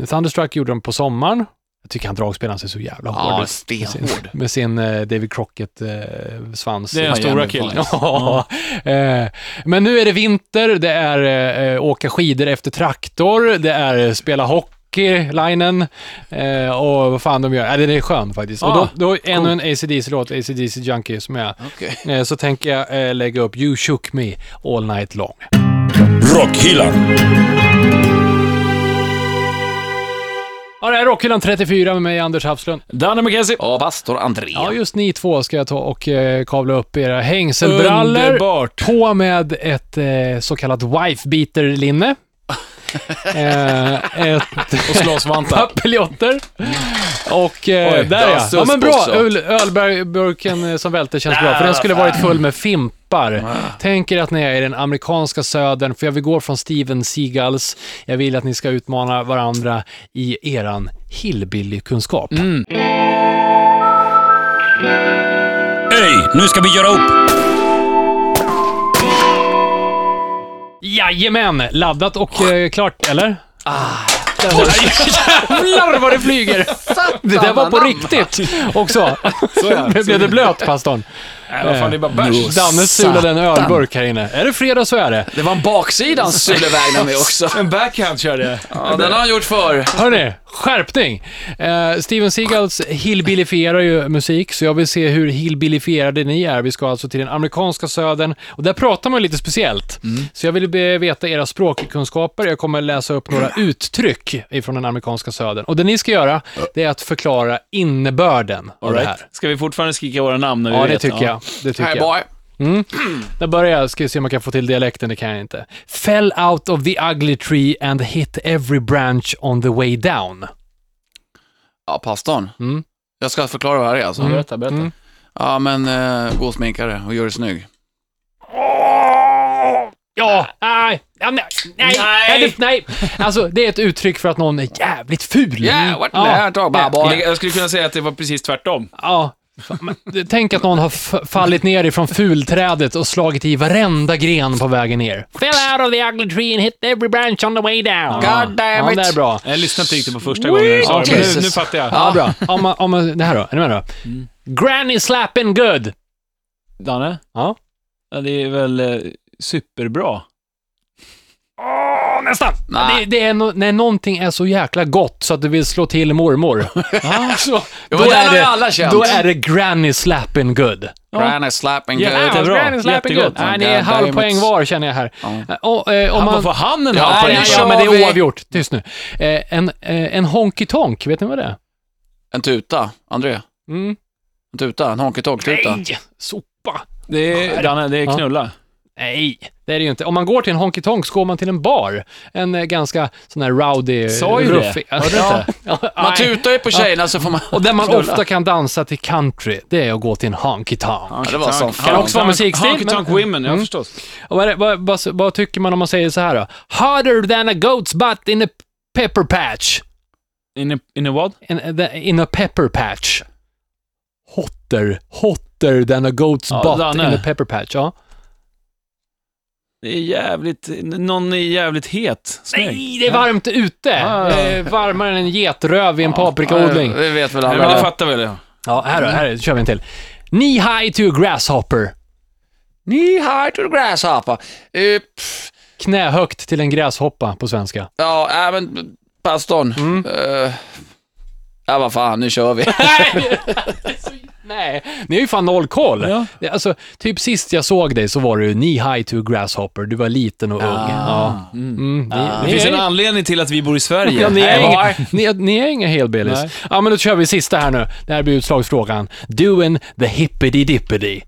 Speaker 2: Thunderstruck gjorde de på sommaren. Jag tycker han dragspelaren ser så jävla hård ut.
Speaker 3: Ja,
Speaker 2: Med sin,
Speaker 3: stenhård.
Speaker 2: med sin eh, David Crockett-svans.
Speaker 4: Det är den stora
Speaker 3: Miami
Speaker 4: killen.
Speaker 3: Vice.
Speaker 2: ja. [LAUGHS] eh, Men nu är det vinter, det är eh, åka skidor efter traktor, det är eh, spela hockey, linen eh, och vad fan de gör. Äh, den är skön faktiskt. och
Speaker 4: Ah,
Speaker 2: då, då är ännu en ACDC-låt, ACDC Junkie, som jag...
Speaker 3: Okej.
Speaker 2: Eh, så tänker jag eh, lägga upp You Shook Me All Night Long.
Speaker 1: Rockhyllan.
Speaker 2: Ja, det här är Rockhyllan 34 med mig, Anders Hafslund.
Speaker 4: Danny McKenzie.
Speaker 3: Ja, pastor André.
Speaker 2: Ja, just ni två ska jag ta och eh, kavla upp era hängselbrallor.
Speaker 4: Underbart.
Speaker 2: På med ett eh, så kallat
Speaker 4: [LAUGHS]
Speaker 2: wife-beater-linne. eh, ett
Speaker 4: Och
Speaker 2: [LAUGHS]
Speaker 4: slåssvantar.
Speaker 2: papiljotter. Och eh,
Speaker 4: Oj,
Speaker 2: där ja.
Speaker 3: dassust
Speaker 2: Ja men bra.
Speaker 3: också.
Speaker 2: Öl, ölburken eh, som välte känns bra, för den skulle varit full med fimpar. Tänk er att ni är i den amerikanska södern, för jag vill gå från Steven Seagulls. Jag vill att ni ska utmana varandra i eran hillbilly-kunskap.
Speaker 1: Ey, nu ska vi göra upp.
Speaker 2: Jajamän! Laddat och eh, klart, eller? Ah. [LAUGHS] Jävlar vad det flyger! Det där var på riktigt också. Nu [LAUGHS] blev det blöt, pastorn.
Speaker 4: Nej, vad fan, det är bara bärs.
Speaker 2: Danne sulade en ölburk här inne. Är det fredag så är det.
Speaker 3: Det var en baksida han skulle vägna med också.
Speaker 4: En backhand körde jag.
Speaker 3: Ja, den har han gjort förr.
Speaker 2: Hörni, skärpning! Eh, Steven Seagulls hillbillifierar ju musik, så jag vill se hur hillbillifierade ni är. Vi ska alltså till den amerikanska södern, och där pratar man lite speciellt. Så jag vill be- veta era språkkunskaper. Jag kommer läsa upp några uttryck ifrån den amerikanska södern. Och det ni ska göra, det är att förklara innebörden av det här.
Speaker 4: Alright. Ska vi fortfarande skrika våra namn när vi
Speaker 2: Ja,
Speaker 4: vet?
Speaker 2: det tycker jag. Det tycker
Speaker 3: Hey
Speaker 2: jag.
Speaker 3: boy.
Speaker 2: Där börjar jag, ska vi se om jag kan få till dialekten, det kan jag inte. Fell out of the ugly tree and hit every branch on the way down.
Speaker 3: Ja, pastorn.
Speaker 2: Mm.
Speaker 3: Jag ska förklara vad det här är alltså.
Speaker 4: Ja, berätta, berätta.
Speaker 2: Mm.
Speaker 3: Ja, men eh, gå och sminka dig och gör dig snygg.
Speaker 2: Ja, nej, ja, nej, nej, nej. det- nej. Alltså, det är ett uttryck för att någon är jävligt ful. Mm.
Speaker 3: Yeah, what the
Speaker 2: ja,
Speaker 3: hell talk about
Speaker 4: Ja,
Speaker 3: boy?
Speaker 4: Jag skulle kunna säga att det var precis tvärtom.
Speaker 2: ja. Men Tänk att någon har f- fallit ner ifrån fulträdet och slagit i varenda gren på vägen ner. Fell out of the ugly tree and hit every branch on the way down.
Speaker 3: God damn
Speaker 2: Ja,
Speaker 3: it.
Speaker 2: det är bra.
Speaker 4: Jag lyssnade inte riktigt på första gången jag sa det, men nu,
Speaker 3: Jesus.
Speaker 4: nu fattar jag.
Speaker 2: Ja, [LAUGHS] bra. Om man, om man, det här då, är ni med då? Granny slapping good.
Speaker 4: Danne?
Speaker 2: Ja.
Speaker 4: Ja, det är väl eh, superbra?
Speaker 2: Ja, nästan. Det,
Speaker 3: Nej.
Speaker 2: det är no, när någonting är så jäkla gott så att du vill slå till mormor. [LAUGHS] Ja, så,
Speaker 3: Jo, men den har ju alla känt.
Speaker 2: då är det granny slapping good.
Speaker 3: Granny slapping
Speaker 4: Ja,
Speaker 3: good.
Speaker 4: det är bra.
Speaker 2: Granny slapping good.
Speaker 4: Jättegott.
Speaker 2: Nej, ni är
Speaker 3: Goddamn
Speaker 2: halv
Speaker 3: it.
Speaker 2: poäng var känner jag här. Och, eh, om
Speaker 4: Han
Speaker 2: man...
Speaker 4: man... får han en
Speaker 3: Ja,
Speaker 4: halv
Speaker 2: Nej,
Speaker 4: poäng?
Speaker 3: nu
Speaker 2: ja,
Speaker 3: kör
Speaker 2: men det
Speaker 3: vi.
Speaker 2: är oavgjort. Tyst nu. Eh, en, eh, en honky tonk, vet ni vad det är?
Speaker 3: En tuta, André.
Speaker 2: Mm.
Speaker 3: En tuta, en honky tonk-tuta.
Speaker 2: Nej! Sopa!
Speaker 4: Det är, Danne, det är knulla.
Speaker 2: Nej, det är det ju inte. Om man går till en honky tonk så går man till en bar. En eh, ganska sån här rowdy,
Speaker 4: Sa ju det.
Speaker 2: ruffig...
Speaker 4: Hörde du inte?
Speaker 2: [LAUGHS] Ja,
Speaker 3: Man
Speaker 2: nej.
Speaker 3: tutar ju på tjejerna så får man...
Speaker 2: Och där man
Speaker 3: Knulla.
Speaker 2: ofta kan dansa till country, det är att gå till en honky tonk.
Speaker 3: Ja, det var sån
Speaker 2: Kan också vara musikstil,
Speaker 4: Honky Tonk
Speaker 2: men-
Speaker 4: Women, ja
Speaker 2: Mm.
Speaker 4: förstås.
Speaker 2: Och vad, är det- vad, vad, vad tycker man om man säger så här då? Harder than a goat's butt in a pepper patch.
Speaker 4: In a, in a what?
Speaker 2: In, the- in a pepper patch. Hotter, hotter than a goat's
Speaker 4: Ja,
Speaker 2: butt
Speaker 4: Danne.
Speaker 2: in a pepper patch. Ja.
Speaker 4: Det är jävligt, någon är jävligt het. Snygg.
Speaker 2: Nej, det är varmt ute.
Speaker 4: Ja, ja, ja.
Speaker 2: Eh, Varmare än en getröv i en paprikaodling.
Speaker 3: Ja, Det vet väl
Speaker 4: Nej, men det
Speaker 3: alla.
Speaker 4: fattar väl jag.
Speaker 2: Ja, här då, här kör vi en till. Knee high to a grasshopper.
Speaker 3: Knee high to the grasshopper. Eh, pff,
Speaker 2: Knähögt till en gräshoppa på svenska.
Speaker 3: Ja, äh, men pastorn.
Speaker 2: Mm.
Speaker 3: Eh, Ja, vad fan, nu kör vi. [LAUGHS]
Speaker 2: Nej, ni har ju fan noll koll.
Speaker 4: Ja.
Speaker 2: Det- Alltså, typ sist jag såg dig så var du knee high to a grasshopper. Du var liten och ung. Ja. Mm. Ni,
Speaker 4: Ah. Det
Speaker 2: ni
Speaker 4: finns
Speaker 2: är-
Speaker 4: en anledning till att vi bor i Sverige.
Speaker 2: Ja, ni, är
Speaker 4: Nej,
Speaker 2: inga, ni, ni är inga helbelis.
Speaker 4: Nej.
Speaker 2: Ja, men då kör vi sista här nu. Det här blir utslagsfrågan. Doing the hippity dippity.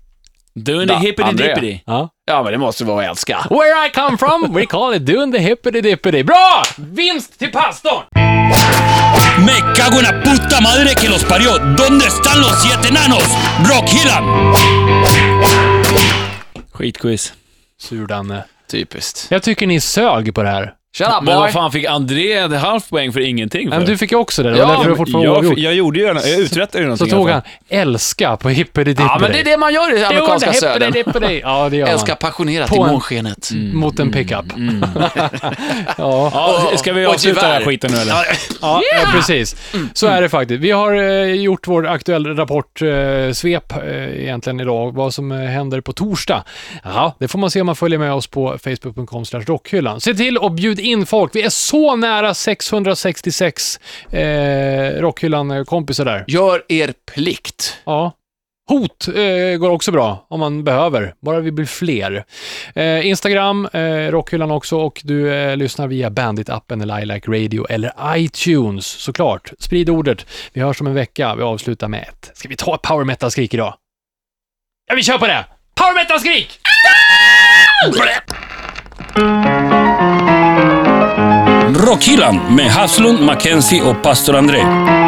Speaker 4: Doing
Speaker 3: Da,
Speaker 4: the hippity
Speaker 3: André.
Speaker 4: dippity.
Speaker 2: Ja.
Speaker 3: Ja, men det måste vara älska.
Speaker 2: Where I come from, we call it doing the hippity dippity. Bra! Vinst till pastorn!
Speaker 1: Me cago en la puta madre que los parió. ¿Dónde están los siete enanos? Rock Hillan.
Speaker 4: Skitquiz.
Speaker 2: Sur Danne.
Speaker 3: Typiskt.
Speaker 2: Jag tycker ni sög på det här.
Speaker 3: Shut up
Speaker 4: Men
Speaker 3: boy.
Speaker 4: vad fan fick André en halv poäng för ingenting? För?
Speaker 2: Nej, men du fick ju också det. Det var därför du fortfarande var
Speaker 4: jag,
Speaker 2: oavgjort.
Speaker 4: jag gjorde ju, jag uträttade ju
Speaker 2: Så
Speaker 4: någonting.
Speaker 2: tog
Speaker 4: i alla
Speaker 2: han
Speaker 4: fall.
Speaker 2: älska på hippity dippity.
Speaker 3: Ja, men det är det man gör i den amerikanska södern.
Speaker 2: södern. Ja, det gör man.
Speaker 3: Älskar Mm. passionerat i
Speaker 2: På en-
Speaker 3: månskenet.
Speaker 2: Mot en pickup. [LAUGHS] ja.
Speaker 4: Ja, ska vi
Speaker 3: Och
Speaker 4: avsluta den här
Speaker 3: gevär.
Speaker 4: skiten nu eller?
Speaker 2: Ja, ja, precis.
Speaker 3: Mm.
Speaker 2: Så är det faktiskt. Vi har eh, gjort vår aktuell rapportsvep eh, svep, eh, egentligen idag, vad som eh, händer på torsdag. Ja, det får man se om man följer med oss på facebook.com slash rockhyllan. Se till att bjud in folk. Vi är så nära 666 eh, rockhyllan-kompisar där.
Speaker 3: Gör er plikt.
Speaker 2: Ja. Hot eh, går också bra om man behöver, bara vi blir fler. Eh, Instagram, eh, Rockhyllan också och du eh, lyssnar via Bandit-appen eller I Like Radio eller iTunes såklart. Sprid ordet. Vi hörs om en vecka. Vi avslutar med ett. Ska vi ta ett power metal-skrik idag? Ja, vi kör på det! Power metal-skrik!
Speaker 1: Rock Hillan med Haslund, Mackenzie och pastor André.